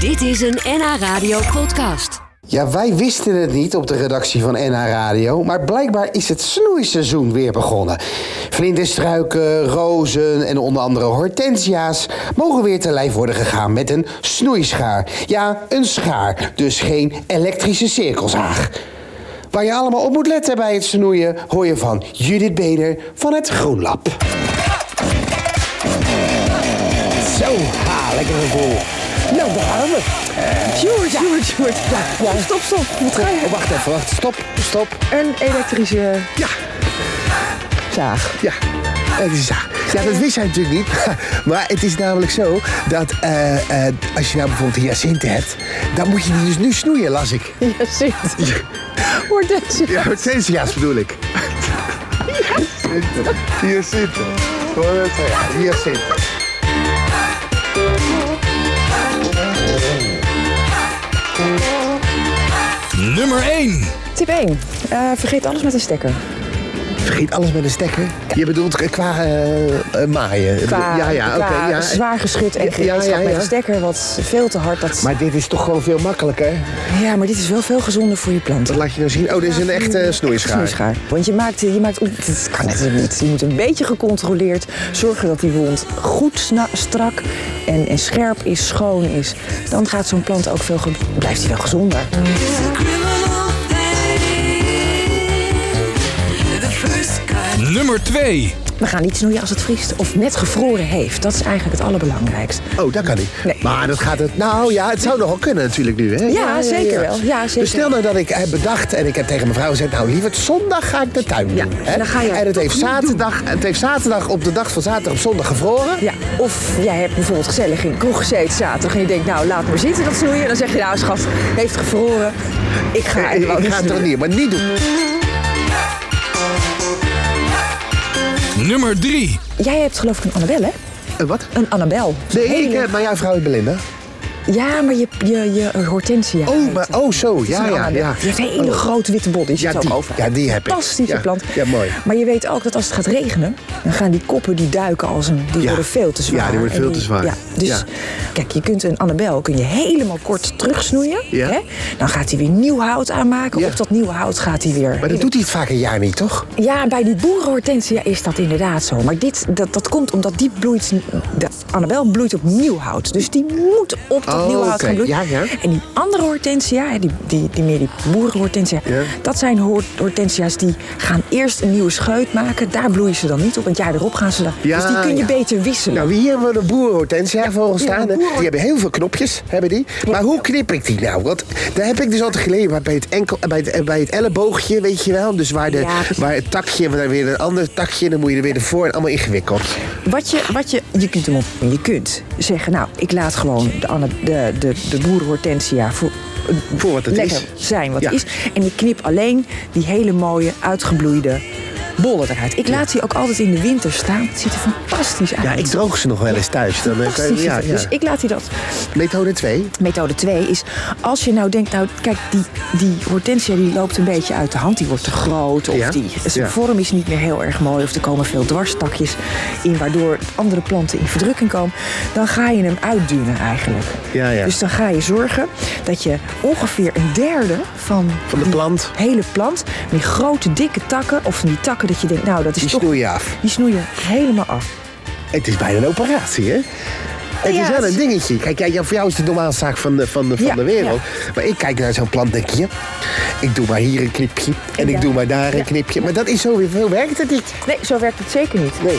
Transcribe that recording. Dit is een NH Radio podcast. Ja, wij wisten het niet op de redactie van NH Radio, maar blijkbaar is het snoeiseizoen weer begonnen. Vlinderstruiken, rozen en onder andere hortensia's mogen weer te lijf worden gegaan met een snoeischaar. Ja, een schaar, dus geen elektrische cirkelzaag. Waar je allemaal op moet letten bij het snoeien, hoor je van Judith Beder van het GroenLab. Zo, ha, lekker gevoel. Nou, daar gaan we. Sjoerd, Sjoerd, Sjoerd. ja. Stop, stop. Wat ga je? Oh, wacht even, wacht. Stop, stop. Een elektrische Ja, zaag. ja. Het is daar. Ja, dat wist hij natuurlijk niet. Maar het is namelijk zo dat eh, eh, als je nou bijvoorbeeld een hyacinthe hebt, dan moet je die dus nu snoeien, las ik. Ja, zit. Hortensia. Ja, hortensia's bedoel ik. Hyacinthe. Hyacinthe. Hortensia, Hyacinthe. Nummer 1. Tip 1. vergeet alles met een stekker. Vergeet alles met een stekker. Je bedoelt qua eh, eh, maaien. Qua, ja, ja, oké. qua ja. zwaar geschut en Ja, ja, gereedschap ja, met ja. een stekker, wat veel te hard. Dat... Maar dit is toch gewoon veel makkelijker. Ja, maar dit is wel veel gezonder voor je Dat planten. laat je nou zien. Oh, dit is een echte snoeischaar. Mm, Snoeischaar. Want je maakt, je maakt, oeh, dit kan natuurlijk niet. Je moet een beetje gecontroleerd zorgen dat die wond goed sna- strak en, en scherp is, schoon is. Dan gaat zo'n plant ook veel, ge- blijft hij wel gezonder. Nummer 2. We gaan niet snoeien als het vriest of net gevroren heeft. Dat is eigenlijk het allerbelangrijkst. Oh, dat kan niet. Nee. Maar dat gaat het. Nou ja, het zou nogal kunnen natuurlijk nu, hè? Ja, zeker wel. Ja, zeker. Dus stel nou dat ik heb bedacht en ik heb tegen mijn vrouw gezegd: Nou, lieverd, zondag ga ik de tuin doen. Ja, hè? dan ga je en het toch heeft, niet zaterdag, het heeft zaterdag op de dag van zaterdag op zondag gevroren. Ja, of jij hebt bijvoorbeeld gezellig in de kroeg gezeten zaterdag en je denkt, nou laat maar zitten dat snoeien. Dan zeg je, nou schat, heeft gevroren. Ik ga Eh, eigenlijk ik niet ga het er snoeien. niet, maar niet doen. Nummer 3. Jij hebt geloof ik een Annabel, hè? Eh, wat? Een Annabel. Nee, Hele- ik, eh, maar jouw vrouw is Belinda. Ja, maar je, je, je hortensia. Oh, heet maar, dat. oh zo. Het is Ja, ja, een Annabel. ja. Die heeft een hele Oh. grote witte body. Ja, Ja, die- ook overal. ja, die heb ik. Fantastische Ja, plant. ja, mooi. Maar je weet ook dat als het gaat regenen, dan gaan die koppen die duiken als een... Die Ja. worden veel te zwaar. Ja, die worden En veel te zwaar. Ja, dus Ja. kijk, je kunt een Annabel kun je helemaal kort terugsnoeien. Ja. Hè? Dan gaat hij weer nieuw hout aanmaken. Ja. Op dat nieuwe hout gaat hij weer... Maar dat doet hij het vaak een jaar niet, toch? Ja, bij die boerenhortensia is dat inderdaad zo. Maar dit, dat, dat komt omdat die bloeit... De Annabel bloeit op nieuw hout. Dus die moet op dat Oh, nieuw hout oké. gaan bloeien. Ja, ja. En die andere hortensia, hè, die, die, die meer die boerenhortensia... Ja. dat zijn hoor- hortensia's die gaan eerst een nieuwe scheut maken. Daar bloeien ze dan niet op. Een jaar erop gaan ze dan... Ja, dus die kun je ja. beter wisselen. Nou, hier hebben we de boerenhortensia voor ja, staan. hè. boerenhort- Die hebben heel veel knopjes, hebben die. Maar hoe knip ik die nou? Want daar heb ik dus altijd geleden. Maar bij het, enkel, bij het, eh, bij het elleboogje, weet je wel. Dus waar, de, Ja, precies. waar het takje, waar weer een ander takje. Dan moet je er weer ervoor. En allemaal ingewikkeld. Wat je, wat je, je kunt hem op, je kunt zeggen, nou, ik laat gewoon de, anne- de, de, de boerenhortensia voor, Voor wat het lekker is. zijn wat Ja. het is. En ik knip alleen die hele mooie, uitgebloeide bollen eruit. Ik laat die ook altijd in de winter staan. Het ziet er fantastisch uit. Ja, ik droog ze nog wel eens thuis. Dan, eh, kan je- Fantastisch. ja, ziet het. ja. Dus ik laat die dat. Methode 2. Methode 2 is, als je nou denkt, nou kijk, die, die hortensia die loopt een beetje uit de hand. Die wordt te groot of Ja, die zijn ja. vorm is niet meer heel erg mooi. Of er komen veel dwarstakjes in, waardoor andere planten in verdrukking komen. Dan ga je hem uitdunnen eigenlijk. Ja, ja. Dus dan ga je zorgen dat je ongeveer een derde van, Van de die plant. hele plant, met die grote dikke takken, of van die takken dat je denkt, nou dat is Die toch... snoei je af. Die snoeien helemaal af. Het is bijna een operatie, hè? Het Ja, is wel het een is- dingetje. Kijk, ja, voor jou is het de normale zaak van de, van de, van Ja, de wereld. Maar ik kijk naar zo'n plant, denk je. Ik doe maar hier een knipje. En ik Ja. doe maar daar een knipje. Maar dat is zo weer veel werkt het niet. Nee, zo werkt het zeker niet. Nee.